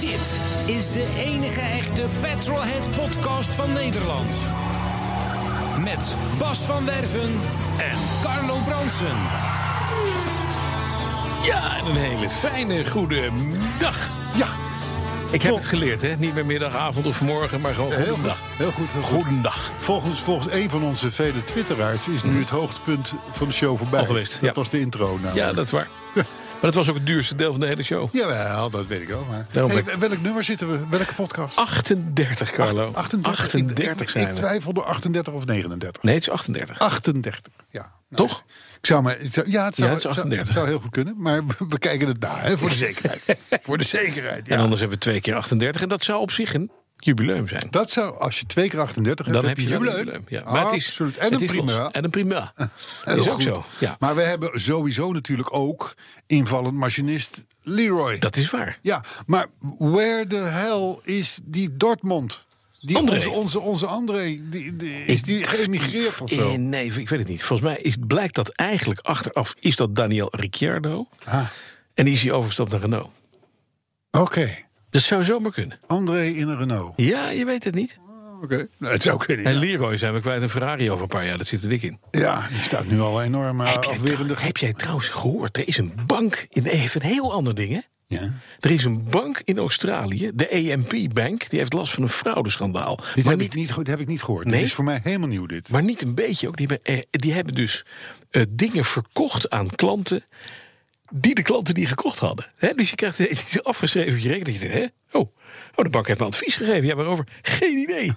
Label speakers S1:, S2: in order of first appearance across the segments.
S1: Dit is de enige echte Petrolhead podcast van Nederland. Met Bas van Werven en Carlo Bransen.
S2: Ja, en een hele fijne goede dag.
S3: Ja,
S2: Ik heb het geleerd, hè? Niet meer middag, avond of morgen, maar gewoon
S3: heel goed.
S2: goedendag.
S3: Heel goed, heel goed.
S2: Goedendag.
S3: Volgens, volgens een van onze vele twitteraars is nu het hoogtepunt van de show voorbij.
S2: Al geweest,
S3: dat
S2: Mhm. ja.
S3: was de intro. Nou.
S2: Ja, dat is waar. Maar dat was ook het duurste deel van de hele show.
S3: Jawel, dat weet ik wel. Maar...
S2: Daarom
S3: Hey,
S2: ben
S3: welk nummer zitten we? Welke podcast?
S2: 38, Carlo.
S3: Ik- ik,
S2: 38
S3: Ik Ah,
S2: zijn we.
S3: twijfelde 38 of 39.
S2: Nee, het is 38.
S3: 38, ja. Nou,
S2: Toch?
S3: Ik zou maar, ik zou- ja, het zou,
S2: Ja, het is
S3: het zou-
S2: 38.
S3: het zou heel goed kunnen, maar we, we kijken het na, hè, voor de zekerheid. voor de zekerheid, ja.
S2: En anders hebben we twee keer 38. En dat zou op zich een jubileum zijn.
S3: Dat zou, als je twee keer 38 hebt,
S2: Dan heb je wel een
S3: jubileum.
S2: jubileum. Ja. Maar het is,
S3: Absoluut. En
S2: het
S3: een
S2: is los.
S3: primeur.
S2: En een primeur. Dat
S3: Heel
S2: is ook
S3: goed.
S2: zo. Ja.
S3: Maar we hebben sowieso natuurlijk ook invallend machinist Leroy.
S2: Dat is waar.
S3: Ja, maar where the hell is die Dortmund? Die
S2: André.
S3: Onze, onze, onze André, die, die- is
S2: Ik-
S3: die geëmigreerd of
S2: Eh,
S3: zo?
S2: nee, ik weet het niet. Volgens mij is, blijkt dat eigenlijk achteraf... is dat Daniel Ricciardo.
S3: Ah,
S2: En die is hier overgestapt naar Renault.
S3: Oké,
S2: Dat zou zomaar kunnen.
S3: André in een Renault.
S2: Ja, je weet het niet.
S3: Oké, nou, het zou kunnen.
S2: En
S3: Ja.
S2: Leroy zijn we kwijt een Ferrari over een paar jaar. Dat zit er dik in.
S3: Ja, die staat nu al enorm eh,
S2: heb, jij
S3: afwerende.
S2: trouw- heb jij trouwens gehoord? Er is een bank, in, even een heel ander ding hè.
S3: Ja.
S2: Er is een bank in Australië, de AMP Bank. Die heeft last van een fraudeschandaal.
S3: Dit
S2: Maar
S3: heb,
S2: niet,
S3: ik niet, goed- heb ik niet gehoord.
S2: Nee?
S3: Dit is voor mij helemaal nieuw, dit.
S2: maar niet een beetje ook. Die hebben, eh, die hebben dus eh, dingen verkocht aan klanten... die de klanten niet gekocht hadden. Hè? Dus je krijgt ineens iets afgeschreven op je rekening. Je denkt, Hè? Oh, oh, de bank heeft me advies gegeven. Ja, waarover? Geen idee.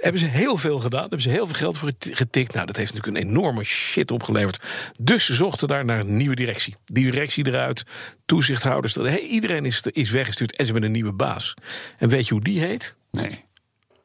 S2: hebben ze heel veel gedaan. Hebben ze heel veel geld voor geti- getikt. Nou, dat heeft natuurlijk een enorme shit opgeleverd. Dus ze zochten daar naar een nieuwe directie. Die directie eruit, toezichthouders. dat- hè, iedereen is, is weggestuurd en ze hebben een nieuwe baas. En weet je hoe die heet?
S3: Nee.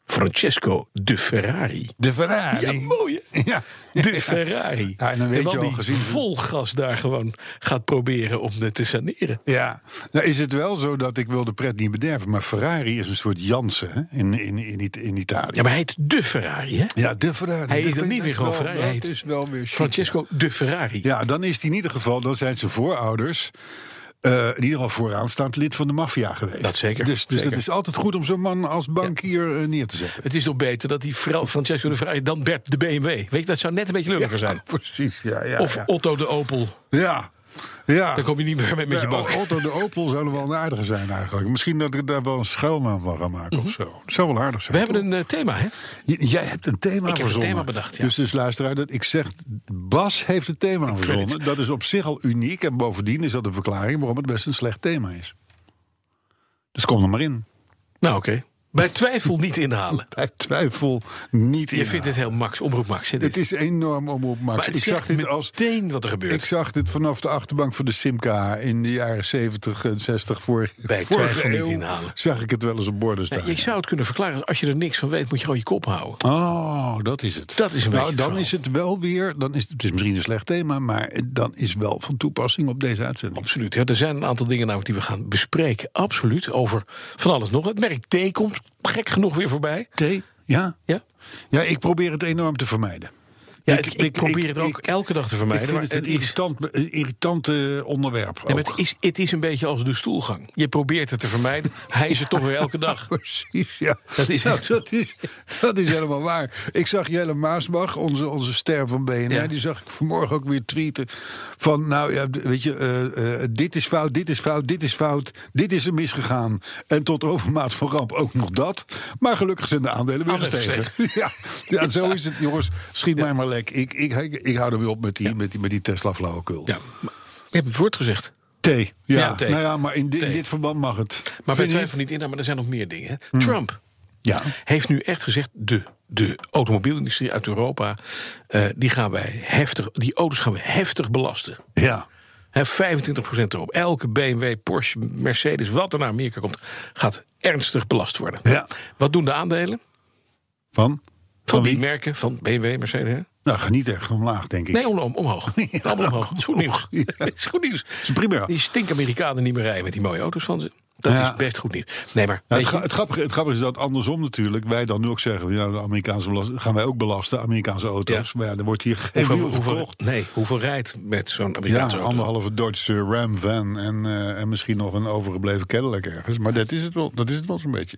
S2: Francesco de Ferrari.
S3: De Ferrari.
S2: Ja, mooi hè?
S3: Ja.
S2: De Ferrari.
S3: Ja, en dan weet je al
S2: die
S3: gezien-
S2: vol gas daar gewoon gaat proberen om het te saneren.
S3: Ja, nou is het wel zo dat ik wil de pret niet bederven, maar Ferrari is een soort Jansen hè, in, in, in, It- in Italië.
S2: Ja, maar hij heet de Ferrari, hè?
S3: Ja, de Ferrari.
S2: Hij is
S3: dat-
S2: dan niet
S3: dat
S2: meer gewoon
S3: wel-
S2: Ferrari. Hij
S3: Dat
S2: heet
S3: is wel weer chic,
S2: Francesco de Ferrari.
S3: Ja, Ja, dan is hij in ieder geval, dan zijn zijn voorouders. eh, in ieder geval vooraanstaand lid van de maffia geweest.
S2: Dat zeker,
S3: Dus, dus
S2: zeker.
S3: het is altijd goed om zo'n man als bankier eh, neer te zetten.
S2: Het is toch beter dat die Fra- Francesco de Ferrari dan Bert de BMW. Weet je, dat zou net een beetje lulliger zijn.
S3: Precies, ja. ja
S2: Of
S3: ja.
S2: Otto de Opel.
S3: Ja. Ja.
S2: Dan kom je niet meer mee met je
S3: Nou,
S2: bank.
S3: Otto de Opel zou er wel een aardige zijn eigenlijk. Misschien dat ik daar wel een schuilnaam van ga maken of zo. Dat zou wel aardig zijn.
S2: Mhm. We hebben
S3: toch?
S2: een eh, thema, hè?
S3: J- Jij hebt een thema
S2: heb een
S3: verzonnen.
S2: thema bedacht, ja.
S3: Dus, dus luisteraar, dat ik zeg, Bas heeft het thema verzonnen. Dat is op zich al uniek. En bovendien is dat een verklaring waarom het best een slecht thema is. Dus kom er maar in.
S2: Nou, oké. Bij twijfel niet inhalen.
S3: Bij twijfel niet in.
S2: Je vindt het heel max, omroep max, hè? dit?
S3: Het is enorm omroep, Max.
S2: maar het
S3: ik zag
S2: zegt
S3: dit als...
S2: meteen wat er
S3: Ik
S2: gebeurt.
S3: zag dit vanaf de achterbank van de Simca in de jaren 70 en 60 voor.
S2: Bij
S3: vorige
S2: twijfel niet
S3: eeuw
S2: inhalen.
S3: Zag ik het wel eens op borden
S2: Nou,
S3: staan.
S2: ik zou het kunnen verklaren. Als je er niks van weet, moet je gewoon je kop houden.
S3: Oh, dat is het.
S2: Dat is
S3: nou,
S2: een beetje het
S3: dan
S2: verhaal.
S3: is het wel weer. Dan is het, het is misschien een slecht thema, maar dan is wel van toepassing op deze uitzending.
S2: Absoluut. Ja, er zijn een aantal dingen namelijk die we gaan bespreken. Absoluut. Over van alles nog. Het merk T komt gek genoeg weer voorbij.
S3: Thee? Ja?
S2: Ja,
S3: Ja, ik probeer het enorm te vermijden.
S2: ja
S3: Ik-
S2: ik, ik
S3: ik-
S2: probeer
S3: ik-
S2: het ook
S3: ik-
S2: elke dag te vermijden.
S3: ik vind
S2: maar
S3: het een
S2: het, is,
S3: irritant, een irritant eh, onderwerp.
S2: ja, maar
S3: ook.
S2: het, is, het is een beetje als de stoelgang. Je probeert het te vermijden. Hij is er toch weer elke dag.
S3: Precies, ja.
S2: Dat is
S3: Nou,
S2: echt zo.
S3: dat is, dat is helemaal waar. Ik zag Jelle Maasbach, onze, onze ster van BNR,
S2: Ja.
S3: die zag ik vanmorgen ook weer tweeten. Van, nou ja, d- weet je, eh, eh, dit is fout, dit is fout, dit is fout, dit is er misgegaan. En tot overmaat van ramp ook nog dat. Maar gelukkig zijn de aandelen weer
S2: Aandelen
S3: gestegen. Ja, ja, zo is het, jongens. Schiet mij maar lek. Ik, ik, ik, ik hou er weer op met die, met die, met die Tesla flauwekul.
S2: Ja, maar, je hebt het woord gezegd.
S3: Thee. Ja,
S2: Ja, thee.
S3: nou ja, maar in, dit- in
S2: Thee.
S3: dit verband mag het.
S2: Maar bij
S3: Vind je Hmm.
S2: twijfel niet in, nou, maar er zijn nog meer dingen. hè. Trump
S3: niet? Ja.
S2: heeft nu echt gezegd: de, de automobielindustrie uit Europa, eh, die gaan wij heftig, die auto's gaan we heftig belasten.
S3: Ja.
S2: Hè, 25% erop. Elke BMW, Porsche, Mercedes, wat er naar Amerika komt, gaat ernstig belast worden.
S3: Ja.
S2: Wat doen de aandelen
S3: Van?
S2: van die
S3: wie?
S2: merken, van BMW, Mercedes? hè?
S3: Nou, ga niet echt omlaag, denk ik.
S2: Nee, om, omhoog. Allemaal omhoog. Is goed nieuws. Is goed nieuws.
S3: is prima.
S2: Die stink Amerikanen niet meer rijden met die mooie auto's van ze. Dat
S3: Ja.
S2: is best goed nieuws. Nee, maar
S3: Ja, Nou,
S2: weet
S3: het,
S2: je,
S3: gra- het grappige, het grappige is dat andersom natuurlijk. Wij dan nu ook zeggen, ja, de Amerikaanse belast, gaan wij ook belasten, Amerikaanse auto's.
S2: Ja.
S3: Maar ja, er wordt hier geen
S2: hoeveel,
S3: wiel
S2: hoeveel,
S3: verkocht.
S2: nee, hoeveel rijdt met zo'n
S3: Ja,
S2: Amerikaanse auto?
S3: anderhalve Duitse Ram van en, eh, en misschien nog een overgebleven Cadillac ergens. Maar dat is het wel, dat is het wel zo'n beetje.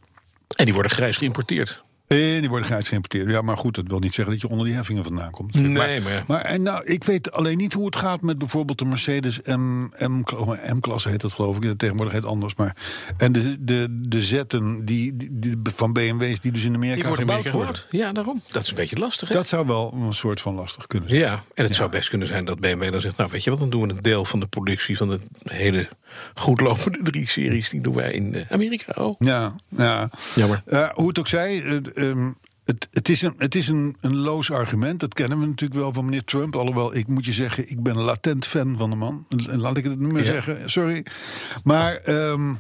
S2: En die worden grijs geïmporteerd.
S3: En Eh, die worden grijs geïmporteerd. Ja, maar goed, dat wil niet zeggen dat je onder die heffingen vandaan komt.
S2: Nee, maar ja.
S3: maar en nou, ik weet alleen niet hoe het gaat met bijvoorbeeld de Mercedes M, M, oh, M-klasse heet dat geloof ik. Dat tegenwoordig heet het anders. Maar, en de, de, de zetten die, die, die- van BMW's die dus in Amerika
S2: Die worden in
S3: gebouwd
S2: Amerika
S3: worden.
S2: gebouwd. Ja, daarom. Dat is een beetje lastig. Hè?
S3: Dat zou wel een soort van lastig kunnen zijn.
S2: Ja, en het zou best kunnen zijn dat BMW dan zegt... nou, weet je wat, dan doen we een deel van de productie... van de hele goedlopende drie series... die doen wij in eh, Amerika. Oh,
S3: Ja, ja.
S2: Jammer.
S3: Eh, hoe het ook zij, het, ehm, het, het is, een, het is een, een loos argument. Dat kennen we natuurlijk wel van meneer Trump. Alhoewel, ik moet je zeggen, ik ben een latent fan van de man. Eh, Laat ik het niet meer
S2: Ja.
S3: zeggen, sorry. Maar... ehm,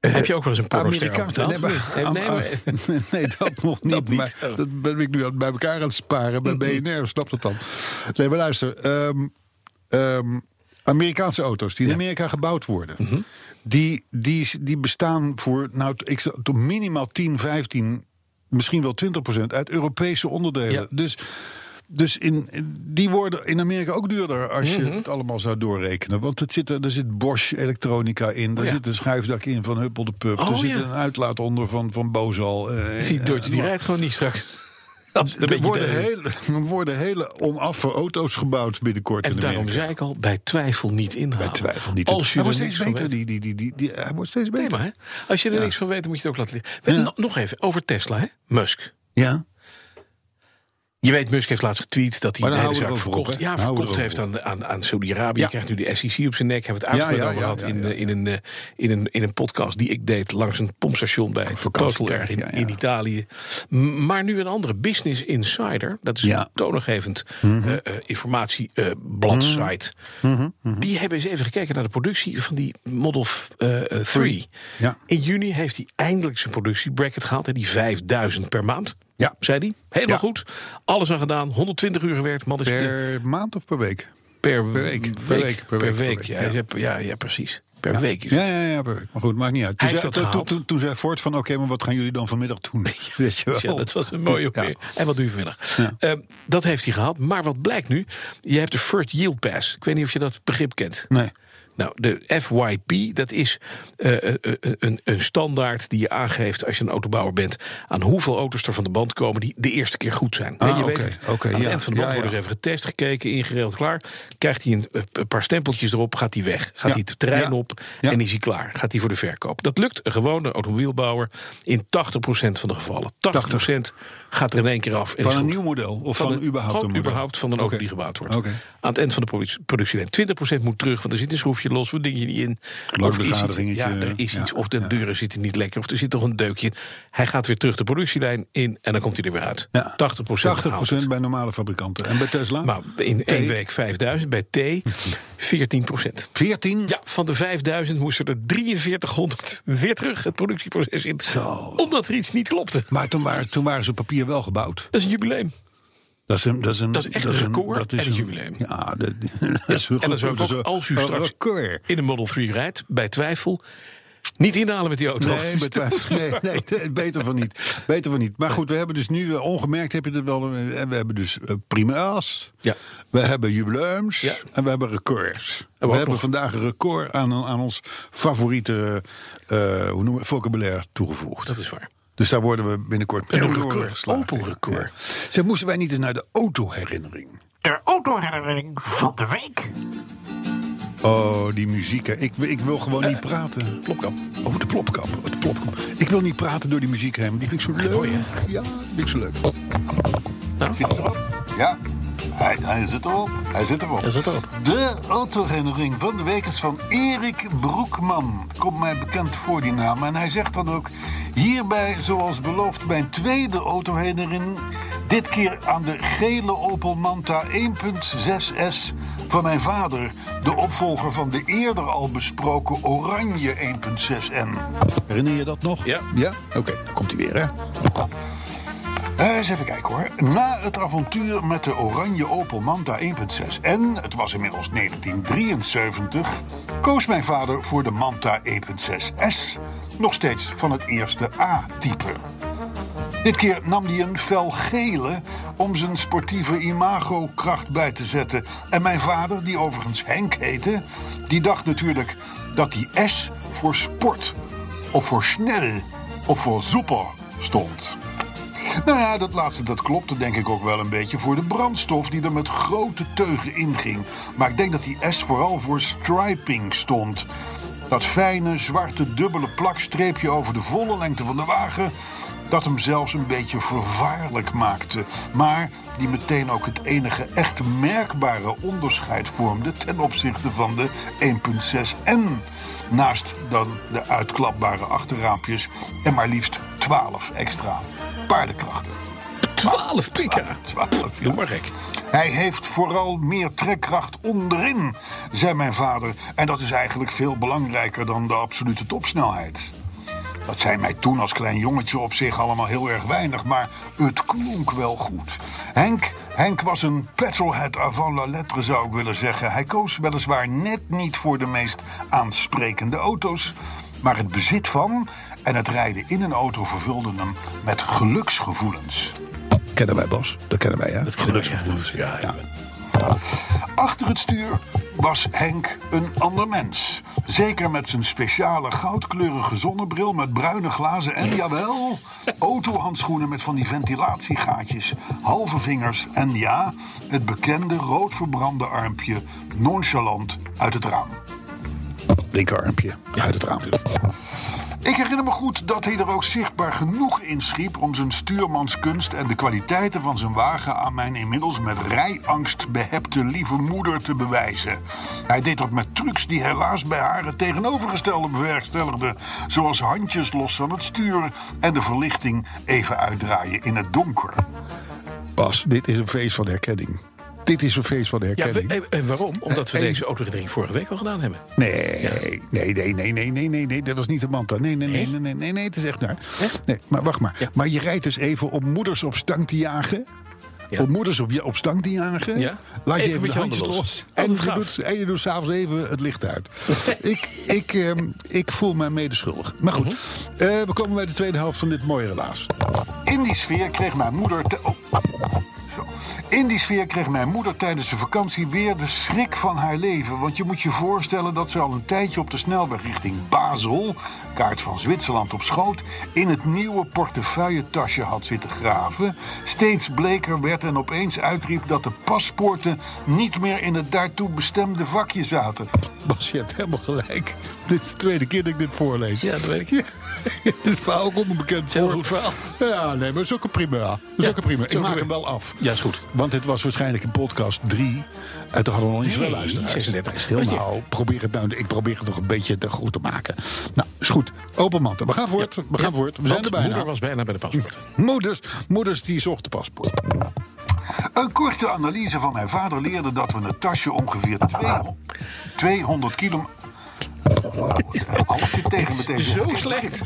S2: Heb je ook wel eens een pornoster
S3: Amerikaanse-
S2: betaald?
S3: Nee, maar-
S2: Nee, nee, maar-
S3: nee, dat nog niet.
S2: Dat niet.
S3: maar
S2: Oh.
S3: dat ben ik nu aan- bij elkaar aan het sparen. Bij BNR, snap dat dan. Nee, maar luister. ehm, ehm, Amerikaanse auto's die in Amerika gebouwd worden...
S2: Mhm.
S3: die, die, die bestaan voor nou, ik, zou- tot minimaal 10, 15, misschien wel 20 procent... uit Europese onderdelen.
S2: Ja.
S3: Dus... Dus in, die worden in Amerika ook duurder als je
S2: Mhm.
S3: het allemaal zou doorrekenen. Want het zit, er er zit Bosch elektronica in. Er
S2: Oh ja.
S3: zit een schuifdak in van Huppel de Pup.
S2: Oh
S3: er zit
S2: ja.
S3: een uitlaat onder van, van Bozal. eh,
S2: Zie, Deutsche, die
S3: eh,
S2: rijdt gewoon niet straks. Dat is een
S3: er
S2: beetje
S3: worden,
S2: tegen.
S3: hele, er worden hele onaffe auto's gebouwd binnenkort
S2: En
S3: in
S2: daarom
S3: Amerika.
S2: zei ik al, bij twijfel niet inhalen.
S3: Bij twijfel niet.
S2: Nou, Als je
S3: hij
S2: er
S3: wordt
S2: niks
S3: steeds
S2: van
S3: beter.
S2: weet.
S3: Die, die, die, die, die- hij wordt steeds
S2: Nee,
S3: beter.
S2: maar hè? als je er niks van weet, dan moet je het ook laten liggen. Weet-
S3: Ja.
S2: no- Nog even, over Tesla, hè? Musk.
S3: Ja.
S2: Je weet, Musk heeft laatst getweet dat hij
S3: Maar Oh,
S2: de
S3: dan
S2: hele
S3: houden
S2: zaak
S3: we erover
S2: verkocht,
S3: op, hè?
S2: ja,
S3: Dan houden we
S2: verkocht heeft aan, aan, aan Saudi-Arabië.
S3: Ja.
S2: Je krijgt nu de SEC op zijn nek. Hebben we het
S3: Ja,
S2: uitgebreid
S3: ja,
S2: over
S3: ja,
S2: gehad
S3: ja,
S2: in,
S3: ja.
S2: eh, In, een, eh, in, een, in een podcast die ik deed langs een pompstation bij Total Air
S3: vakantiepark,
S2: in,
S3: ja, ja.
S2: in Italië. M- Maar nu een andere Business Insider, dat is
S3: Ja. Mhm.
S2: een toonaangevend eh, informatiebladzijde.
S3: Mhm.
S2: Die hebben eens even gekeken naar de productie van die Model eh, 3.
S3: Ja.
S2: In juni heeft hij eindelijk zijn productiebracket gehaald. hè, Die 5000 per maand.
S3: Ja.
S2: Zei hij. Helemaal
S3: Ja.
S2: goed. Alles aan gedaan. 120 uur gewerkt. Man is de-
S3: Per maand of per week?
S2: per,
S3: week, per week, per week, per week,
S2: ja,
S3: ja.
S2: ja. ja, ja, precies. Per week is
S3: Ja,
S2: het.
S3: ja, ja, per week. Maar goed, maakt niet uit.
S2: Hij
S3: Toen
S2: heeft
S3: zei-
S2: dat
S3: toen-
S2: gehaald.
S3: toen- Toen zei Ford van, oké, maar wat gaan jullie dan vanmiddag doen? Weet je wel.
S2: Ja, dat was een mooie
S3: Ja.
S2: opmerking. En wat doe je vanmiddag? Ehm, dat heeft hij gehaald. Maar wat blijkt nu? Je hebt de First Yield Pass. Ik weet niet of je dat begrip kent.
S3: Nee.
S2: Nou, de FYP, dat is eh, eh, eh, een, een standaard die je aangeeft als je een autobouwer bent. aan hoeveel auto's er van de band komen die de eerste keer goed zijn.
S3: Ah,
S2: En je
S3: oké,
S2: weet,
S3: oké,
S2: aan het
S3: ja,
S2: eind van de
S3: ja,
S2: band
S3: ja.
S2: wordt dus even getest, gekeken, ingereeld, klaar. Krijgt hij een, eh, een paar stempeltjes erop, gaat hij weg. Gaat
S3: Ja,
S2: hij het terrein
S3: ja,
S2: op
S3: ja.
S2: en is hij klaar. Gaat hij voor de verkoop. Dat lukt een gewone automobielbouwer in 80% van de gevallen. 80%, gaat er in één keer af. En is
S3: Van een
S2: goed
S3: nieuw model? Of van,
S2: een-
S3: überhaupt
S2: gewoon
S3: een model?
S2: überhaupt van een auto
S3: Oké.
S2: die gebouwd wordt.
S3: Oké.
S2: Aan het eind van de productie- productielijn. 20% moet terug, want er zit een schroefje los, wat ding je niet in. Of er is iets,
S3: begaderingetje,
S2: ja, er is
S3: ja,
S2: iets. Of de
S3: ja.
S2: deuren zitten niet lekker, of er zit toch een deukje. Hij gaat weer terug de productielijn in en dan komt hij er weer uit.
S3: Ja.
S2: 80%,
S3: 80%
S2: haalt het.
S3: bij normale fabrikanten. En bij Tesla?
S2: Maar in één week 5000, bij T 14%.
S3: 14?
S2: Ja, van de 5000 moesten er 4300 weer terug het productieproces in. Omdat er iets niet klopte.
S3: Maar toen waren, toen waren ze op papier wel gebouwd.
S2: Dat is een jubileum.
S3: Dat is, een, dat is, een,
S2: Dat is echt een record en een jubileum.
S3: Ja, dat, dat is
S2: En dat is ook,
S3: dat
S2: ook als u
S3: een
S2: straks
S3: record.
S2: in de Model 3 rijdt, bij twijfel, niet inhalen met die auto.
S3: Nee, betwijfel. Nee, nee, nee, beter van niet. Beter van niet. Maar goed, we hebben dus nu, eh, ongemerkt heb je het wel, eh, en we hebben dus eh, prima's.
S2: Ja.
S3: We hebben jubileums.
S2: Ja.
S3: En we hebben records. we
S2: ook
S3: hebben
S2: nog.
S3: vandaag een record aan, aan ons favoriete eh, hoe noemen we, vocabulaire toegevoegd.
S2: Dat is waar.
S3: Dus daar worden we binnenkort mee
S2: Een
S3: om de
S2: record,
S3: oren geslagen.
S2: open record.
S3: Ja. Zeg, moesten wij niet eens naar de autoherinnering?
S4: De autoherinnering van de week.
S3: Oh, die muziek. hè. Ik, ik wil gewoon
S2: Eh,
S3: niet praten.
S2: Plopkap.
S3: Oh, de plopkap. Oh, de plopkap. Ik wil niet praten door die muziek heen. maar Die vind ik zo leuk.
S2: mooi,
S3: ja, die vind ik zo leuk.
S2: Nou,
S3: Ja, hij, hij zit erop. Hij zit erop.
S2: Hij zit erop.
S3: De autoherinnering van de week is van Erik Broekman. Komt mij bekend voor die naam. En hij zegt dan ook... Hierbij, zoals beloofd, mijn tweede autoherinnering. Dit keer aan de gele Opel Manta 1.6S van mijn vader, de opvolger van de eerder al besproken Oranje 1.6N.
S5: Herinner je dat nog?
S2: Ja.
S5: Ja? Oké, dan komt hij weer, hè?
S3: Eh, eens even kijken hoor. Na het avontuur met de oranje Opel Manta 1.6 en, het was inmiddels 1973, koos mijn vader voor de Manta 1.6S, nog steeds van het eerste A-type. Dit keer nam hij een fel gele om zijn sportieve imago kracht bij te zetten. En mijn vader, die overigens Henk heette, die dacht natuurlijk dat die S voor sport, of voor snel, of voor super stond. Nou ja, dat laatste dat klopte denk ik ook wel een beetje voor de brandstof die er met grote teugen inging. Maar ik denk dat die S vooral voor striping stond. Dat fijne, zwarte, dubbele plakstreepje over de volle lengte van de wagen. Dat hem zelfs een beetje vervaarlijk maakte. Maar die meteen ook het enige echt merkbare onderscheid vormde ten opzichte van de 1.6N. Naast dan de uitklapbare achterraampjes en maar liefst 12 extra paardenkrachten.
S2: 12 pk.
S3: 12,
S2: Doe
S3: ja.
S2: maar gek.
S3: Hij heeft vooral meer trekkracht onderin, zei mijn vader. En dat is eigenlijk veel belangrijker dan de absolute topsnelheid. Dat zei mij toen als klein jongetje op zich allemaal heel erg weinig, maar het klonk wel goed. Henk, Henk was een petrolhead avant la lettre, zou ik willen zeggen. Hij koos weliswaar net niet voor de meest aansprekende auto's, maar het bezit van en het rijden in een auto vervulden hem met geluksgevoelens.
S5: Kennen wij, Bas. Dat kennen wij, hè?
S2: Geluksgevoelens. Ja, ja.
S3: Achter het stuur was Henk een ander mens. Zeker met zijn speciale goudkleurige zonnebril met bruine glazen en jawel, autohandschoenen met van die ventilatiegaatjes, halve vingers en ja, het bekende rood verbrande armpje nonchalant uit het raam.
S5: Linkerarmpje. Uit het raam.
S3: Ik herinner me goed dat hij er ook zichtbaar genoeg in schiep om zijn stuurmanskunst en de kwaliteiten van zijn wagen aan mijn inmiddels met rijangst behepte lieve moeder te bewijzen. Hij deed dat met trucs die helaas bij haar het tegenovergestelde bewerkstelligden, zoals handjes los van het stuur en de verlichting even uitdraaien in het donker.
S5: Bas, dit is een feest van herkenning. Dit is een feest van
S2: ja we-
S5: herkenning.
S2: en- en waarom? Omdat we
S5: Eh,
S2: deze autoherinnering vorige week al gedaan hebben.
S5: Nee, nee, nee, nee, nee, nee, nee, nee, dat was niet de Manta. Nee, nee, nee, nee, nee, nee, nee het is echt naar. Nee, maar wacht maar. Maar je rijdt dus even om moeders op stank te jagen.
S2: Ja.
S5: Om moeders op, je- op stank te jagen.
S2: Ja.
S5: Laat
S2: Even
S5: je even
S2: met
S5: de
S2: je
S5: handjes
S2: handen
S5: los.
S2: los.
S5: En,
S2: Altijd
S5: je
S2: gaaf.
S5: doet, en je doet s'avonds even het licht uit. ik, ik, ehm, ik voel mij medeschuldig. Maar goed,
S2: Mhm.
S5: eh, we komen bij de tweede helft van dit mooie relaas.
S3: In die sfeer kreeg mijn moeder. te- oh. Zo. In die sfeer kreeg mijn moeder tijdens de vakantie weer de schrik van haar leven. Want je moet je voorstellen dat ze al een tijdje op de snelweg richting Basel, kaart van Zwitserland op schoot, in het nieuwe portefeuilletasje had zitten graven. Steeds bleker werd en opeens uitriep dat de paspoorten niet meer in het daartoe bestemde vakje zaten.
S5: Bas, je hebt helemaal gelijk. Dit is de tweede keer dat ik dit voorlees.
S2: Ja, dat weet ik.
S5: Ja, het verhaal komt me bekend
S2: Heel
S5: voor.
S2: goed verhaal.
S5: Ja, nee, maar zulke prima. Dat is
S2: Ja,
S5: ook een prima.
S2: is
S5: Ik
S2: ook
S5: maak
S2: een-
S5: hem wel af.
S2: Ja, is goed.
S5: Want het was waarschijnlijk in podcast 3. En toen hadden we nog niet zoveel
S2: Nee,
S5: luisteraars.
S2: 36.
S5: Stil
S2: Wat je-
S5: nou, probeer het nou. Ik probeer het nog een beetje te goed te maken. Nou, is goed. Open manten. We gaan voort. We gaan voort. We zijn
S2: Want
S5: er bijna.
S2: Moeder was bijna bij de paspoort.
S5: Moeders, moeders die zochten paspoort.
S3: Een korte analyse van mijn vader leerde dat we het tasje ongeveer 200 200 kilo. Als je tegen me tegen.
S2: Zo slecht.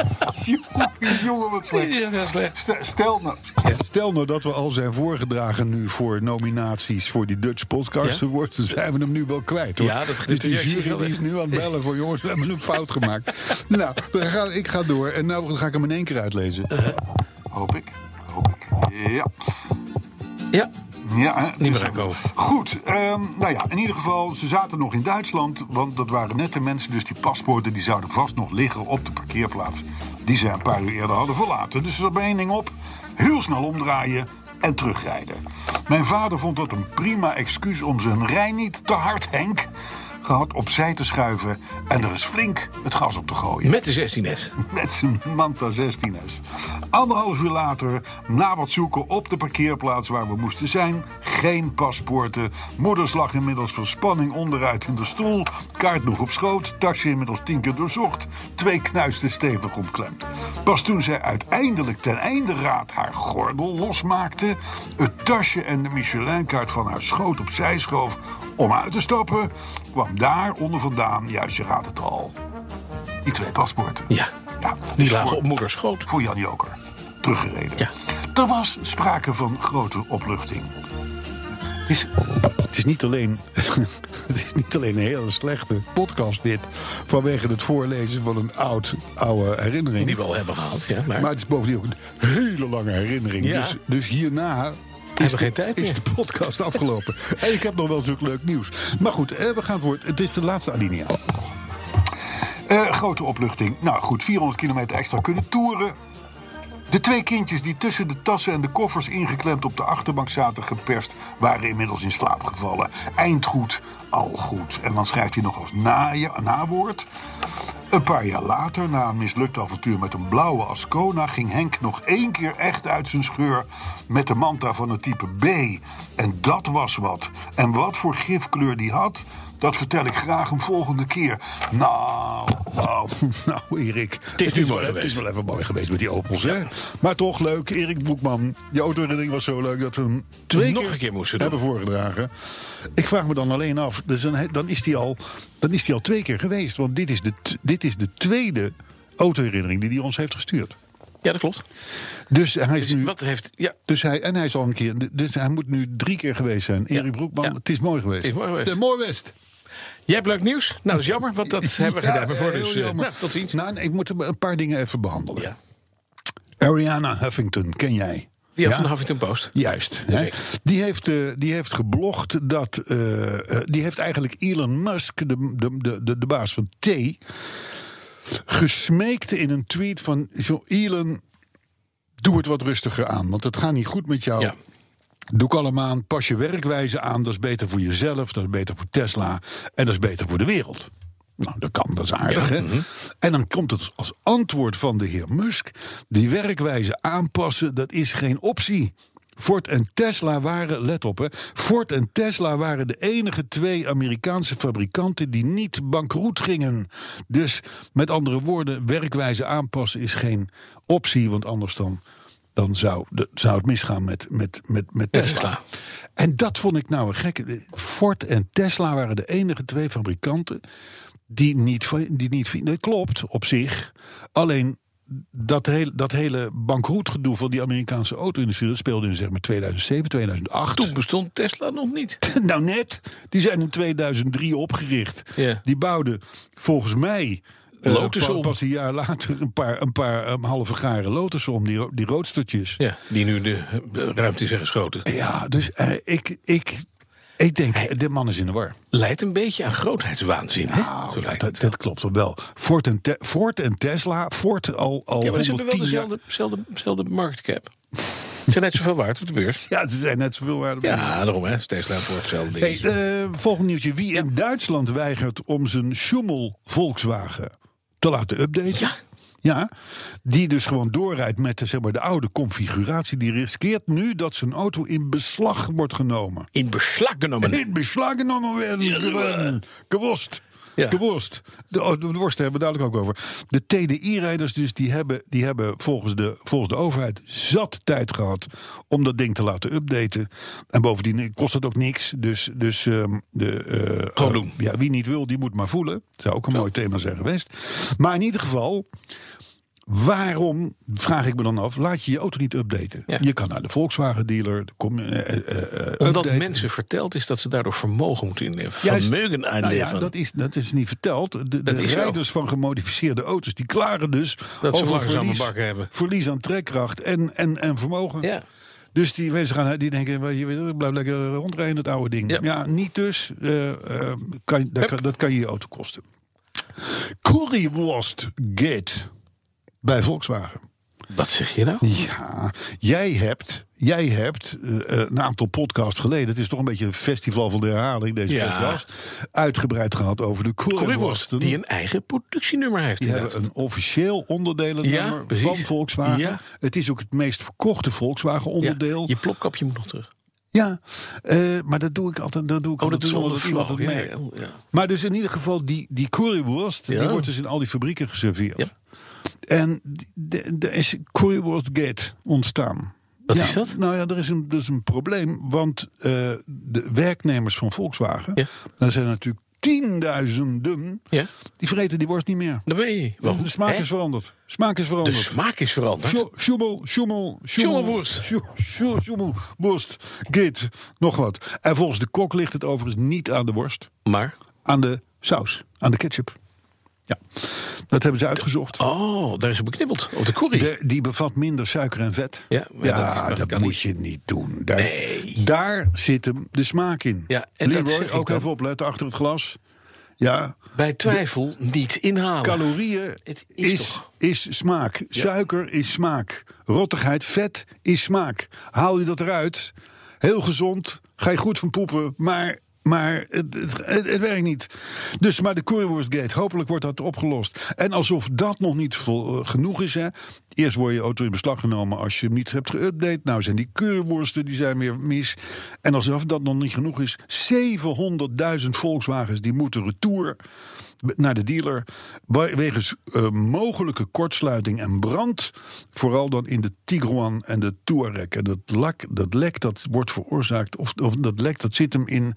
S3: Jongen, Jongen, wat
S2: Dit is
S3: slecht.
S2: echt heel slecht.
S3: Stel- Stel nou.
S5: Stel nou dat we al zijn voorgedragen nu voor nominaties voor die Dutch Podcast
S2: Ja.
S5: Awards. Dan zijn we hem nu wel kwijt hoor.
S2: Ja, dat-
S5: dus
S2: de
S5: die
S2: reactie is
S5: jury
S2: wel
S5: die
S2: echt-
S5: is nu aan het bellen voor jongens, we hebben een fout gemaakt. nou, dan ga, ik ga door en nou dan ga ik hem in één keer uitlezen.
S2: Uh-huh.
S3: Hoop ik. Hoop ik. Ja.
S2: Ja,
S3: Ja, hè, het
S2: niet
S3: is-
S2: meer aankomen.
S3: Goed, ehm, nou ja, in ieder geval, ze zaten nog in Duitsland. Want dat waren net de mensen, dus die paspoorten die zouden vast nog liggen op de parkeerplaats. Die ze een paar uur eerder hadden verlaten. Dus ze zat bij één ding op: heel snel omdraaien en terugrijden. Mijn vader vond dat een prima excuus om zijn rij niet te hard, Henk, gehad opzij te schuiven. En er is flink het gas op te gooien
S2: Met de 16S.
S3: met zijn Manta 16S. Anderhalf uur later, na wat zoeken op de parkeerplaats waar we moesten zijn, geen paspoorten. Moeders lag inmiddels van spanning onderuit in de stoel, kaart nog op schoot, tasje inmiddels tien keer doorzocht, twee knuisten stevig omklemd.
S6: Pas toen zij uiteindelijk ten einde raad haar gordel losmaakte, het tasje en de Michelinkaart van haar schoot opzij schoof om uit te stappen, kwam daar onder vandaan, juist je raadt het al, die twee paspoorten.
S2: Ja. Die
S6: dus
S2: lagen
S6: voor-
S2: op moeders schoot.
S6: voor Jan Joker. Teruggereden.
S2: Ja.
S6: Er was sprake van grote opluchting.
S3: Het is, het is niet alleen. Het is niet alleen een hele slechte podcast, dit. Vanwege het voorlezen van een oud, oude herinnering.
S2: Die we al hebben gehad. Ja, maar,
S3: Maar het is bovendien ook een hele lange herinnering.
S2: Ja.
S3: Dus, dus hierna.
S2: Hebben
S3: Is
S2: we
S3: de,
S2: geen tijd
S3: is
S2: meer.
S3: de podcast afgelopen. en ik heb nog wel zo'n leuk nieuws. Maar goed, eh, we gaan voor het. Het is de laatste alinea.
S6: Eh, grote opluchting. Nou goed, 400 kilometer extra kunnen toeren. De twee kindjes die tussen de tassen en de koffers ingeklemd op de achterbank zaten geperst, waren inmiddels in slaap gevallen. Eindgoed, al goed. En dan schrijft hij nog als na, nawoord. Een paar jaar later, na een mislukt avontuur met een blauwe Ascona, ging Henk nog één keer echt uit zijn scheur met de manta van het type B. En dat was wat. En wat voor gifkleur die had, dat vertel ik graag een volgende keer. Nou, nou.
S3: Nou, Erik. Het
S2: is nu mooi
S3: wel-
S2: geweest.
S3: Het is wel even mooi geweest met die Opels, hè? Maar toch leuk. Erik Boekman. Je autoherinnering was zo leuk dat we hem twee
S2: Nog een keer moesten doen.
S3: hebben voorgedragen. Ik vraag me dan alleen af. Dus dan, dan, is die al, dan is die al twee keer geweest. Want dit is de, t- dit is de tweede autoherinnering die hij ons heeft gestuurd.
S2: ja, dat klopt.
S3: Dus hij is nu.
S2: Wat heeft. Ja,
S3: Dus hij, en hij is al een keer. Dus hij moet nu drie keer geweest zijn. Erik Broekman,
S2: Ja.
S3: het is mooi geweest.
S2: Het is mooi geweest.
S3: De mooi West.
S2: jij hebt leuk nieuws. Nou, dat is jammer, want dat hebben we
S3: Ja,
S2: gedaan. Maar voor
S3: heel
S2: dus, eh,
S3: jammer.
S2: nou, tot ziens.
S3: Nou, nee, ik moet er een paar dingen even behandelen.
S2: Ja.
S3: Ariana Huffington, ken jij?
S2: Die had van de Huffington Post.
S3: Juist. Hè?
S2: Zeker.
S3: Die, heeft, eh, die heeft geblogd dat. eh, eh, die heeft eigenlijk Elon Musk, de, de, de, de, de baas van T. gesmeekt in een tweet van. Zo, Elon, doe het wat rustiger aan, want het gaat niet goed met jou.
S2: Ja.
S3: Doe kalm aan, pas je werkwijze aan. Dat is beter voor jezelf, dat is beter voor Tesla en dat is beter voor de wereld. Nou, dat kan, dat is aardig, hè? En dan komt het als antwoord van de heer Musk... die werkwijze aanpassen, dat is geen optie. Ford en Tesla waren, let op hè... Ford en Tesla waren de enige twee Amerikaanse fabrikanten... die niet bankroet gingen. Dus met andere woorden, werkwijze aanpassen is geen optie... want anders dan, dan zou, de- zou het misgaan met, met, met, met Tesla.
S2: Tesla.
S3: En dat vond ik nou een gekke. Ford en Tesla waren de enige twee fabrikanten die niet, van- die niet vinden. Dat klopt op zich. Alleen dat hele, dat hele bankroetgedoe van die Amerikaanse auto-industrie... dat speelde in zeg maar 2007, 2008.
S2: Toen bestond Tesla nog niet.
S3: Nou net, die zijn in 2003 opgericht.
S2: Ja.
S3: Die bouwden volgens mij... eh,
S2: Lotus
S3: pa-
S2: om.
S3: Pas een jaar later een paar, een paar eh, halve garen lotus om, die, ro- die roodstertjes.
S2: Ja, die nu de eh, ruimte is geschoten.
S3: Ja, dus eh, ik, ik, ik denk, eh, de man is in de war.
S2: Leidt een beetje aan grootheidswaanzin, hè? Zo
S3: Nou, ja,
S2: lijkt
S3: dat,
S2: het.
S3: dat klopt wel wel. Ford en, Te- Ford en Tesla, Ford oh, al, al
S2: Ja, maar ze hebben wel
S3: 110 jaar...
S2: dezelfde, dezelfde, dezelfde market cap. Ze zijn net zoveel waard op de beurs.
S3: Ja, ze zijn net zoveel waard.
S2: Ja, daarom hè. Tesla voor hetzelfde
S3: Hey,
S2: ding.
S3: eh, volgend nieuwtje. Wie in Duitsland weigert om zijn Schummel Volkswagen te laten updaten...
S2: Ja.
S3: Ja, die dus gewoon doorrijdt met de, zeg maar, de oude configuratie... die riskeert nu dat zijn auto in beslag wordt genomen.
S2: In beslag genomen.
S3: In beslag genomen werden. Gewoon. Gewost.
S2: Ja.
S3: Gewost. De, oh, de worsten hebben we het duidelijk ook over. De TDI-rijders dus, die hebben, die hebben volgens, de, volgens de overheid zat tijd gehad om dat ding te laten updaten. En bovendien kost het ook niks. Dus, dus ehm, de, eh,
S2: Gewoon doen.
S3: ja, wie niet wil, die moet maar voelen. Zou ook een mooi thema zijn geweest. Maar in ieder geval, waarom, vraag ik me dan af, laat je je auto niet updaten?
S2: Ja.
S3: Je kan naar de Volkswagen dealer, de com- eh, eh, eh,
S2: Omdat
S3: updaten.
S2: mensen verteld is dat ze daardoor vermogen moeten inleveren.
S3: Juist.
S2: Vermeugen
S3: Nou
S2: aanleveren.
S3: ja, dat, is, dat is niet verteld. De, de
S2: Dat is zo.
S3: rijders van gemodificeerde auto's die klagen dus
S2: Dat ze
S3: over
S2: langzame
S3: verlies,
S2: bakken hebben.
S3: verlies aan trekkracht en, en, en vermogen.
S2: Ja.
S3: Dus die mensen gaan, die denken, "Wel, je weet, het, blijf lekker rondrijden het oude ding. Ja,
S2: Ja.
S3: niet dus. eh, eh, kan, dat, kan, dat kan je je auto kosten. Currywurst Gate bij Volkswagen.
S2: Wat zeg je nou?
S3: Ja, jij hebt, jij hebt eh, eh, een aantal podcasts geleden... het is toch een beetje een festival van de herhaling, deze
S2: Ja.
S3: podcast... uitgebreid gehad over de
S2: Currywurst,
S3: curryworsten.
S2: die
S3: Die,
S2: een eigen productienummer heeft.
S3: hebben
S2: inderdaad.
S3: een officieel onderdelennummer
S2: Ja, precies.
S3: van Volkswagen.
S2: Ja.
S3: Het is ook het meest verkochte
S2: Ja,
S3: Volkswagen-onderdeel.
S2: Je plopkapje moet nog terug.
S3: Ja, eh, maar dat doe ik altijd, Oh, dat doe ik
S2: Oh, dat
S3: altijd
S2: is
S3: zonder dat iemand het
S2: flow. Ja,
S3: merkt.
S2: ja, ja.
S3: Maar dus in ieder geval, die, die currywurst, die
S2: Ja.
S3: wordt dus in al die fabrieken geserveerd.
S2: Ja.
S3: En die- de- er is Currywurst Gate ontstaan.
S2: Wat
S3: Ja,
S2: is dat?
S3: Nou ja, er is een, dus een probleem, want eh, de werknemers van Volkswagen,
S2: Ja.
S3: daar zijn natuurlijk tienduizenden,
S2: Ja.
S3: die vreten die worst niet meer.
S2: Daar ben je. Waarom?
S3: De smaak
S2: Hè?
S3: is veranderd. Smaak is
S2: De
S3: veranderd.
S2: smaak is veranderd.
S3: Sjo- Sjoemel, sjoemel,
S2: Schommelworst.
S3: sjo- sjo- Sjoemel, worst, git, nog wat. En volgens de kok ligt het overigens niet aan de worst,
S2: Maar,
S3: aan de saus, aan de ketchup. Ja, dat hebben ze uitgezocht.
S2: oh, daar is het beknibbeld. Op de corrie.
S3: De- die bevat minder suiker en vet.
S2: Ja, maar dat-
S3: dat,
S2: dat kan
S3: moet
S2: niet.
S3: je niet doen. Daar,
S2: Nee.
S3: daar zit hem de smaak in.
S2: Ja, en dat
S3: Leroy,
S2: zeg ik
S3: ook
S2: dan.
S3: even opletten achter het glas. Ja,
S2: Bij twijfel niet inhalen.
S3: calorieën
S2: Het is
S3: is,
S2: toch-
S3: is smaak. Suiker is smaak. Rottigheid, vet is smaak. Haal je dat eruit, heel gezond, ga je goed van poepen, maar... Maar het, het, het- het werkt niet. Dus maar de Currywurstgate, hopelijk wordt dat opgelost. En alsof dat nog niet vol, eh, genoeg is, hè. Eerst wordt je auto in beslag genomen als je hem niet hebt geüpdate. Nou zijn die curryworsten, die zijn weer mis. En alsof dat nog niet genoeg is, 700.000 Volkswagens die moeten retour naar de dealer. we- Wegens eh, mogelijke kortsluiting en brand. Vooral dan in de Tiguan en de Touareg. En dat, lak, dat lek dat wordt veroorzaakt. Of, of dat lek dat zit hem in.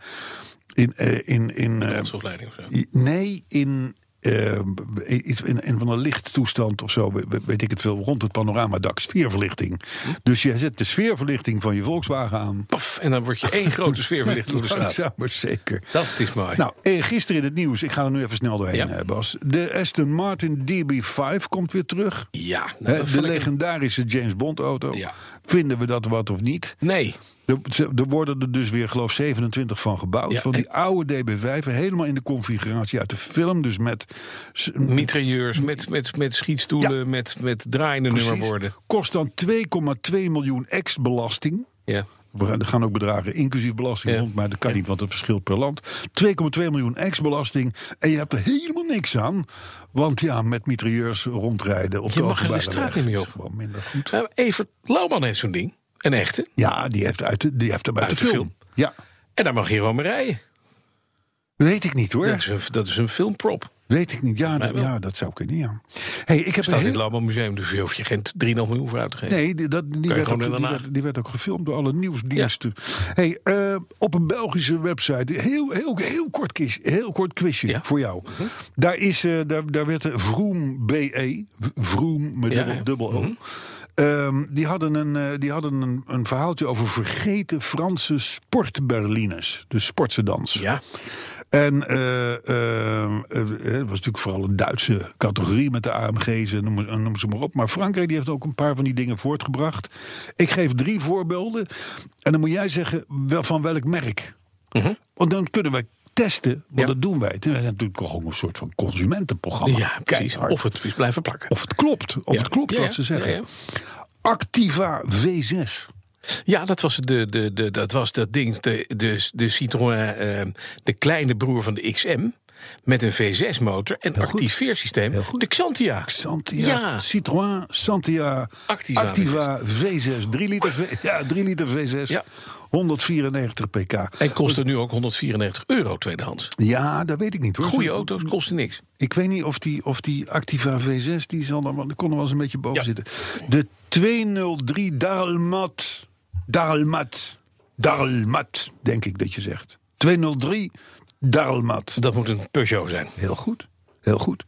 S3: in, eh, in, in eh,
S2: Brandstofleiding of zo.
S3: i- nee, in. eh, iets in, in van een lichttoestand of zo, we- we- weet ik het veel, rond het panoramadak, sfeerverlichting.
S2: Hm?
S3: Dus je zet de sfeerverlichting van je Volkswagen aan.
S2: Paf, en dan word je één grote sfeerverlicht door de straat.
S3: Langzaam maar zeker.
S2: Dat is mooi.
S3: Nou, eh, gisteren in het nieuws, ik ga er nu even snel doorheen,
S2: Ja.
S3: eh, Bas. De Aston Martin DB5 komt weer terug.
S2: ja, nou,
S3: Hè,
S2: dat
S3: de
S2: vond ik een-
S3: legendarische James Bond auto.
S2: Ja.
S3: Vinden we dat wat of niet?
S2: Nee,
S3: Er, ze- er worden er dus weer, geloof ik, 27 van gebouwd.
S2: Ja,
S3: van die oude DB5, helemaal in de configuratie uit de film. Dus met s-
S2: mitrailleurs met, met, met schietstoelen,
S3: Ja.
S2: met, met draaiende
S3: precies,
S2: nummerborden.
S3: Kost dan 2,2 miljoen ex-belasting.
S2: Ja.
S3: We gaan- er gaan ook bedragen, inclusief belasting
S2: Ja.
S3: rond, maar dat kan niet, want het verschilt per land. 2,2 miljoen ex-belasting. En je hebt er helemaal niks aan. Want ja, met mitrailleurs rondrijden op
S2: Je
S3: de
S2: mag er de
S3: openbare
S2: straat
S3: weg
S2: niet meer
S3: is
S2: op.
S3: gewoon minder goed.
S2: Nou, Evert Lauwman heeft zo'n ding. Een echte.
S3: Ja, die heeft, uit de, die heeft hem uit, de, film. Ja,
S2: En daar mag je gewoon mee rijden.
S3: weet ik niet hoor.
S2: Dat is een, dat is een filmprop.
S3: Weet ik niet. Ja, dat, ja, dat zou kunnen, ja. Hey, ik heb
S2: Staat in
S3: een
S2: het
S3: heel-
S2: Lauwman Museum, dus je hoeft je geen 3,5 miljoen voor uit te geven.
S3: Nee, die, dat, die,
S2: je
S3: werd ook,
S2: gewoon
S3: die,
S2: naar Den Haag.
S3: werd, die werd ook gefilmd door alle nieuwsdiensten. Hey, eh, op een Belgische website, heel, heel, heel, kort, quiz, heel kort quizje
S2: Ja. Mhm.
S3: voor jou. Daar, is, eh, daar, daar werd de Vroom BE, v- Vroom met
S2: Ja,
S3: dubbel,
S2: ja. Mhm.
S3: dubbel O. Ehm, die hadden, een, eh, die hadden een, een verhaaltje over vergeten Franse sportberlines. Dus sportse dans.
S2: Ja,
S3: En eh, eh, eh, het was natuurlijk vooral een Duitse categorie met de AMG's en noem, en noem ze maar op. Maar Frankrijk die heeft ook een paar van die dingen voortgebracht. Ik geef drie voorbeelden. En dan moet jij zeggen wel van welk merk. Want dan kunnen wij testen, want
S2: Mhm. Ja.
S3: dat doen wij. Het is natuurlijk gewoon een soort van consumentenprogramma.
S2: ja precies.
S3: Keihard.
S2: Of het is blijven plakken.
S3: Of het klopt, of
S2: Ja.
S3: het klopt
S2: Ja,
S3: wat
S2: ja.
S3: ze zeggen.
S2: Ja, ja.
S3: Activa V6.
S2: Ja, dat was, de, de, de, dat, was dat ding, de, de, de Citroën, eh, de kleine broer van de XM... met een V6-motor en
S3: goed.
S2: actief veersysteem.
S3: Heel goed.
S2: De Xantia.
S3: Santia,
S2: Ja.
S3: Citroën, Santia,
S2: Activa
S3: V6. 3 liter, v, ja, 3 liter V6,
S2: Ja.
S3: 194 pk.
S2: En kostte nu ook 194 euro tweedehands.
S3: Ja, dat weet ik niet hoor.
S2: Goede auto's kosten niks.
S3: Ik weet niet of die, of die Activa V6, die zal dan, wel- die kon er wel eens een beetje boven
S2: Ja.
S3: zitten. De 203 Dalmat, Dalmat, Dalmat, denk ik dat je zegt. 203 Dalmat.
S2: Dat moet een Peugeot zijn.
S3: Heel goed, heel goed.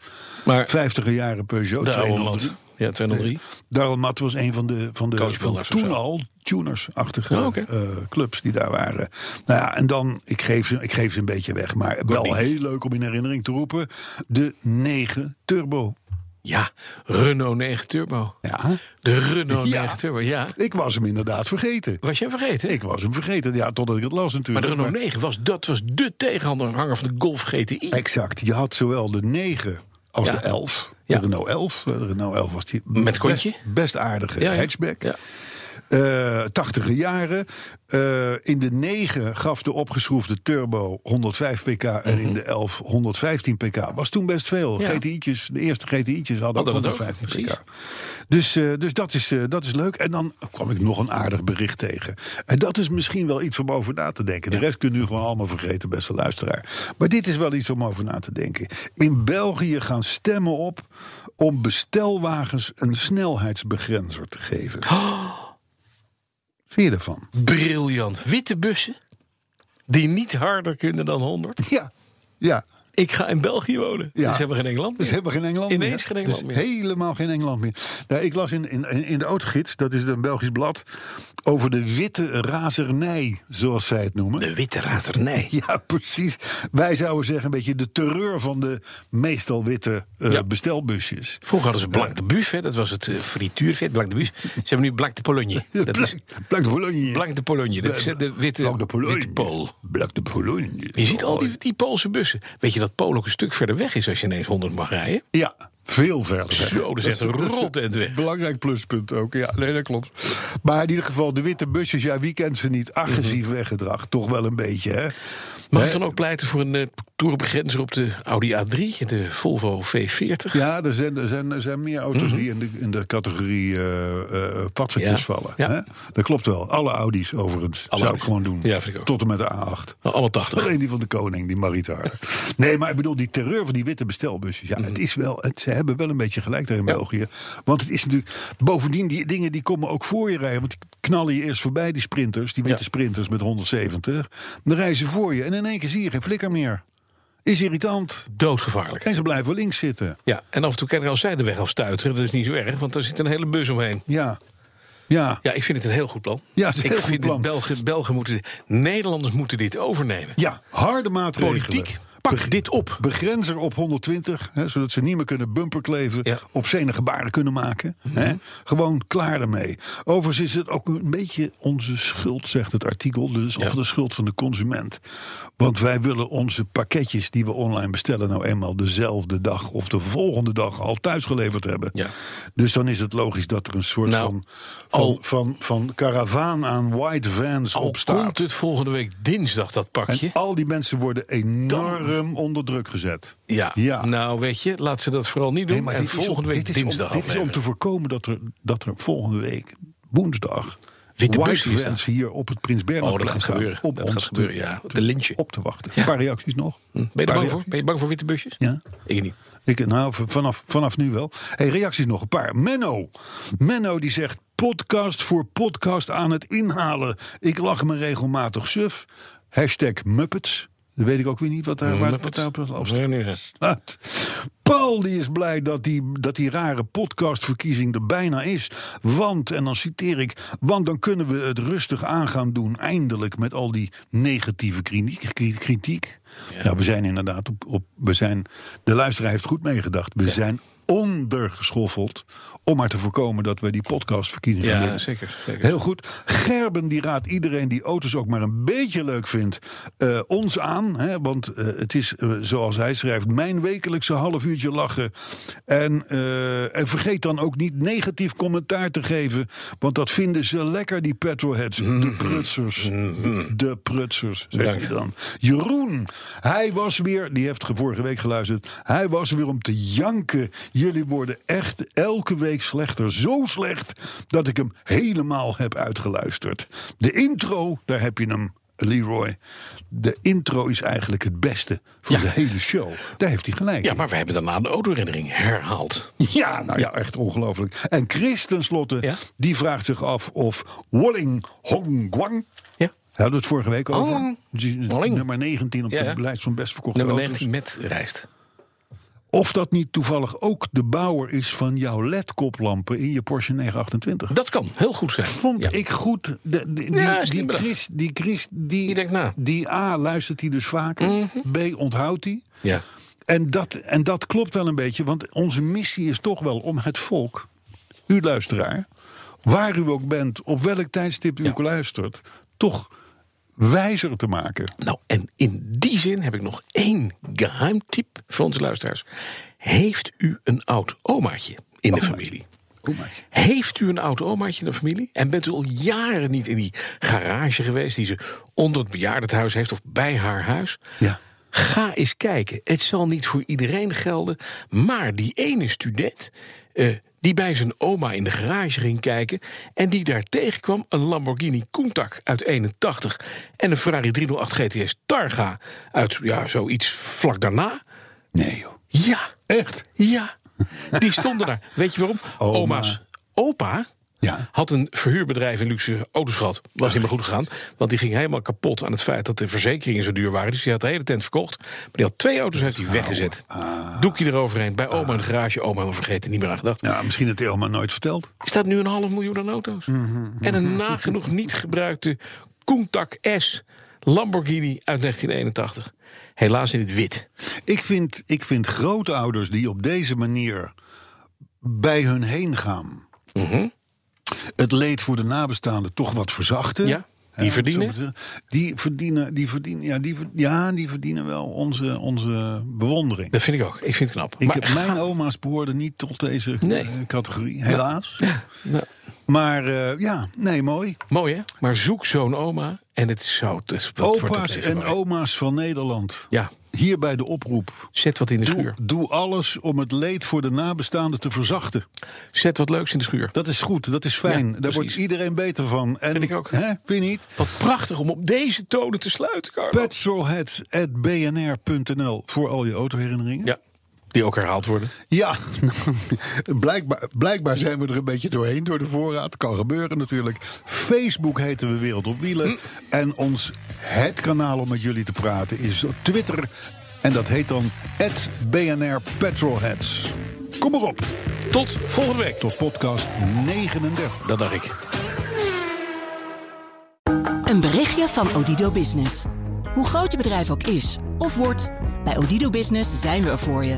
S2: Maar
S3: 50 jaren Peugeot,
S2: de oude
S3: 203.
S2: land. Ja, 203.
S3: Darrell Matt was een van de, van de van
S2: Coachbuilders of
S3: toen
S2: zo.
S3: al tuners-achtige
S2: Oh, oké.
S3: eh, clubs die daar waren. Nou ja, en dan, ik geef ze, ik geef ze een beetje weg, maar wel heel leuk om in herinnering te roepen. De 9 Turbo.
S2: Ja, Renault 9 Turbo.
S3: Ja,
S2: De Renault
S3: Ja.
S2: 9 Turbo, ja.
S3: ik was hem inderdaad vergeten.
S2: Was jij vergeten?
S3: Ik was hem vergeten, ja, totdat ik het las
S2: Maar
S3: natuurlijk.
S2: de Renault 9 was, dat was de tegenhanger van de Golf GTI.
S3: Exact, je had zowel de 9 als
S2: Ja.
S3: de 11.
S2: Ja.
S3: De Renault 11. eh, De Renault 11 was die
S2: Met kontje.
S3: best, best aardige
S2: Ja, ja.
S3: hatchback.
S2: Ja.
S3: Eh, tachtige jaren. Eh, in de 9 gaf de opgeschroefde turbo 105 pk. En in de 11 115 pk. Was toen best veel.
S2: Ja.
S3: GTI'tjes, de eerste GTI'tjes hadden ook
S2: Hadden dat ook,
S3: 115
S2: precies.
S3: pk. Dus, eh, dus dat, is, eh, dat is leuk. En dan kwam ik nog een aardig bericht tegen. En dat is misschien wel iets om over na te denken. De rest kunnen u gewoon allemaal vergeten, beste luisteraar. Maar dit is wel iets om over na te denken. In België gaan stemmen op om bestelwagens een snelheidsbegrenzer te geven. Vind je ervan?
S2: Briljant. Witte bussen. Die niet harder kunnen dan 100.
S3: Ja. Ja.
S2: Ik ga in België wonen.
S3: Ja.
S2: Dus hebben we geen Engeland
S3: Dus
S2: meer.
S3: helemaal geen Engeland meer.
S2: Ineens geen Engeland
S3: dus
S2: meer.
S3: helemaal geen Engeland meer. Nou, ik las in, in, in de Autogids, dat is een Belgisch blad... over de witte razernij, zoals zij het noemen.
S2: De witte razernij.
S3: Ja, precies. Wij zouden zeggen een beetje de terreur van de meestal witte eh,
S2: Ja.
S3: bestelbusjes.
S2: Vroeger hadden ze blank de buff. Hè. Dat was het eh, frituurvet. Blank de buff. Ze hebben nu blank de Pologne. Dat is
S3: Blank de Pologne.
S2: blank de Pologne. Dat is eh,
S3: Blank-
S2: de witte,
S3: Blank de Pologne.
S2: witte Pool.
S3: Blank de Pologne.
S2: Je ziet al die, die Poolse bussen. Weet je dat Polen ook een stuk verder weg is als je ineens 100 mag rijden?
S3: Ja, veel verder. weg.
S2: Zo, dat is echt een
S3: Dat is
S2: rot end weg.
S3: Belangrijk pluspunt ook, ja, nee, dat klopt. Maar in ieder geval, de witte busjes, ja, wie kent ze niet? Agressief weggedrag, toch wel een beetje, hè?
S2: Mhm. Mag
S3: Hè?
S2: ik dan ook pleiten voor een eh toerbegrenzer op de Audi A3 en de Volvo V40?
S3: Ja, er zijn, er zijn, er zijn meer auto's die in de, in de categorie eh eh patsertjes
S2: Mhm. Ja,
S3: vallen.
S2: ja.
S3: Hè? Dat klopt wel. Alle Audi's overigens. zou
S2: Audi's.
S3: ik gewoon doen.
S2: Ja, vind ik ook.
S3: Tot en met de A8.
S2: Nou, alle 80.
S3: Alleen die van de koning, die Maritar. nee, maar ik bedoel, die terreur van die witte bestelbusjes. Ja,
S2: Mhm.
S3: het is wel, het, ze hebben wel een beetje gelijk daar in België. Want het is natuurlijk, bovendien, die dingen die komen ook voor je rijden. Want die knallen je eerst voorbij, die sprinters, die witte
S2: Ja.
S3: sprinters met 170. Dan rijden ze voor je en in één keer zie je geen flikker meer. Is irritant.
S2: Doodgevaarlijk.
S3: En ze blijven links zitten.
S2: Ja, en af en toe kan je als zij de weg afstuiteren. Dat is niet zo erg, want daar zit een hele bus omheen.
S3: Ja. Ja.
S2: Ja, ik vind het een heel goed plan.
S3: Ja, het is een
S2: ik
S3: heel goed
S2: vind
S3: plan.
S2: het Belgen, Belgen moeten, Nederlanders moeten dit overnemen.
S3: Ja, harde maatregelen.
S2: Politiek, pak
S3: Beg-
S2: dit op.
S3: Begrenzer op 120, hè, zodat ze niet meer kunnen bumperkleven,
S2: Ja. Mhm.
S3: op zenige gebaren kunnen maken. Hè. Gewoon klaar ermee. Overigens is het ook een beetje onze schuld, zegt het artikel, dus of de schuld van de consument. Want wij willen onze pakketjes die we online bestellen nou eenmaal dezelfde dag of de volgende dag al thuis geleverd hebben.
S2: Ja.
S3: Dus dan is het logisch dat er een soort
S2: Nou,
S3: van, van,
S2: al-
S3: van, van karavaan aan white vans
S2: Al
S3: opstaat.
S2: komt het volgende week dinsdag, dat pakje.
S3: En al die mensen worden enorm onder druk gezet.
S2: Ja.
S3: ja.
S2: nou weet je, laat ze dat vooral niet doen.
S3: Nee, maar
S2: en
S3: dit is, om,
S2: volgende week
S3: dit, is om,
S2: dinsdag
S3: dit is om te
S2: afleveren. Oh,
S3: voorkomen dat er, dat er volgende week, woensdag,
S2: Witte
S3: white
S2: busjes staan.
S3: vans hier op het Prins
S2: Oh, dat
S3: Bernhardplein
S2: gaat
S3: staan
S2: gebeuren.
S3: Op
S2: Dat
S3: ons
S2: gaat gebeuren, ja. Hm.
S3: te-
S2: De lintje.
S3: Op te wachten. Een paar reacties nog.
S2: Ben je
S3: Paar
S2: er bang voor?
S3: reacties.
S2: Ben je bang voor witte busjes?
S3: Ja.
S2: Ik niet.
S3: Ik, nou, v- vanaf, vanaf nu wel. Hey, reacties nog een paar. Menno. Menno die zegt: podcast voor podcast aan het inhalen. Ik lach me regelmatig suf. Hashtag Muppets. Dat weet ik ook weer niet wat daar, waar, wat
S2: Muppets.
S3: daar op- op
S2: Nee, nee, nee.
S3: staat. Paul die is blij dat die, dat die rare podcastverkiezing er bijna is. Want, en dan citeer ik, want dan kunnen we het rustig aan gaan doen. Eindelijk met al die negatieve kritiek. kri- kritiek. Nou, we zijn inderdaad op, op we zijn, de luisteraar heeft goed meegedacht. We zijn ondergeschoffeld om maar te voorkomen dat we die podcastverkiezing gaan
S2: Ja,
S3: winnen.
S2: zeker, zeker.
S3: Heel goed. Gerben die raadt iedereen die auto's ook maar een beetje leuk vindt eh, ons aan. Hè, want eh, het is, eh, zoals hij schrijft, mijn wekelijkse half uurtje lachen. En, eh, en vergeet dan ook niet negatief commentaar te geven. Want dat vinden ze lekker, die petrolheads. De prutsers. De prutsers, zegt hij
S2: Bedankt.
S3: dan. Jeroen, hij was weer, die heeft ge- vorige week geluisterd. Hij was weer om te janken. Jullie worden echt elke week slechter. Zo slecht dat ik hem helemaal heb uitgeluisterd. De intro, daar heb je hem. Leroy, de intro is eigenlijk het beste van
S2: Ja.
S3: de hele show. Daar heeft hij gelijk.
S2: Ja,
S3: in.
S2: maar we hebben daarna de autoherinnering herhaald.
S3: Ja, nou ja, echt ongelooflijk. En Chris tenslotte,
S2: Ja?
S3: die vraagt zich af of Walling Hongguang...
S2: Ja.
S3: We hadden het vorige week over.
S2: Hongguang.
S3: Die-
S2: Oh, Walling.
S3: Nummer 19 op
S2: Ja,
S3: de
S2: ja.
S3: lijst van best verkochte
S2: Nummer
S3: auto's.
S2: 19 met rijst.
S3: Of dat niet toevallig ook de bouwer is van jouw LED-koplampen in je Porsche 928.
S2: Dat kan heel goed zijn.
S3: vond
S2: Ja.
S3: ik goed. De- de- die,
S2: Ja, is
S3: die,
S2: niet bedacht.
S3: Chris, die Chris, die,
S2: Die denkt na. Mhm.
S3: die A, luistert hij dus vaker. B, onthoudt hij.
S2: Ja.
S3: En dat, en dat klopt wel een beetje, want onze missie is toch wel om het volk, u luisteraar, waar u ook bent, op welk tijdstip u ook luistert, toch wijzer te maken.
S2: Nou, en in die zin heb ik nog één geheim tip voor onze luisteraars. Heeft u een oud omaatje in de familie?
S3: omaatje.
S2: Heeft u een oud omaatje in de familie? En bent u al jaren niet in die garage geweest die ze onder het bejaardentehuis heeft of bij haar huis?
S3: Ja.
S2: Ga eens kijken. Het zal niet voor iedereen gelden. Maar die ene student. eh, die bij zijn oma in de garage ging kijken. en die daar tegenkwam een Lamborghini Countach uit 81. en een Ferrari 308 GTS Targa uit ja, zoiets vlak daarna.
S3: Nee, joh.
S2: Ja,
S3: Echt?
S2: ja. Die stonden daar. Weet je waarom?
S3: Oma.
S2: Oma's. Opa
S3: Ja.
S2: had een verhuurbedrijf in luxe auto's gehad. Was niet meer goed gegaan. Want die ging helemaal kapot aan het feit dat de verzekeringen zo duur waren. Dus die had de hele tent verkocht. Maar die had twee auto's heeft hij
S3: Nou,
S2: weggezet. Doekje eroverheen. Bij oma in de garage. Oma helemaal vergeten. Niet meer aan gedacht.
S3: ah. Ja, misschien dat hij helemaal nooit verteld.
S2: Er staat nu een half miljoen aan auto's.
S3: Mhm,
S2: En een nagenoeg niet gebruikte Countach S Lamborghini uit 1981. Helaas in het wit.
S3: Ik vind, ik vind grootouders die op deze manier bij hun heen gaan.
S2: Mhm.
S3: Het leed voor de nabestaanden toch wat verzachten.
S2: Ja,
S3: Hè,
S2: die
S3: om het zo
S2: verdienen.
S3: maar te zeggen. Die verdienen, die verdienen, ja, die, ver- ja, die verdienen wel onze, onze bewondering.
S2: Dat vind ik ook. Ik vind het knap.
S3: Ik
S2: Maar
S3: heb,
S2: ga-
S3: mijn oma's behoorden niet tot deze
S2: Nee.
S3: eh, categorie, helaas.
S2: Nou,
S3: Maar eh, ja, nee, mooi.
S2: Mooi hè? Maar zoek zo'n oma en het zou... Het is- wat wordt het
S3: Opa's
S2: even
S3: en
S2: mooi.
S3: oma's van Nederland.
S2: Ja,
S3: Hierbij de oproep.
S2: zet wat in de
S3: Doe,
S2: schuur.
S3: doe alles om het leed voor de nabestaanden te verzachten.
S2: Zet wat leuks in de schuur.
S3: Dat is goed, dat is fijn.
S2: Ja,
S3: Daar wordt
S2: precies.
S3: iedereen beter van. En,
S2: Vind ik ook.
S3: Hè, vind je niet?
S2: Wat prachtig om op deze tonen te sluiten, Carlo.
S3: Petrolheads.bnr.nl voor al je autoherinneringen.
S2: Ja, die ook herhaald worden.
S3: Ja, blijkbaar, blijkbaar zijn we er een beetje doorheen door de voorraad. Kan gebeuren natuurlijk. Facebook heten we Wereld op Wielen.
S2: Hm.
S3: En ons het kanaal om met jullie te praten is op Twitter. En dat heet dan BNR Petrolheads. Kom maar op,
S2: Tot volgende week.
S3: tot podcast 39.
S2: Dat dacht ik.
S7: Een berichtje van Odido Business. Hoe groot je bedrijf ook is of wordt, bij Odido Business zijn we er voor je.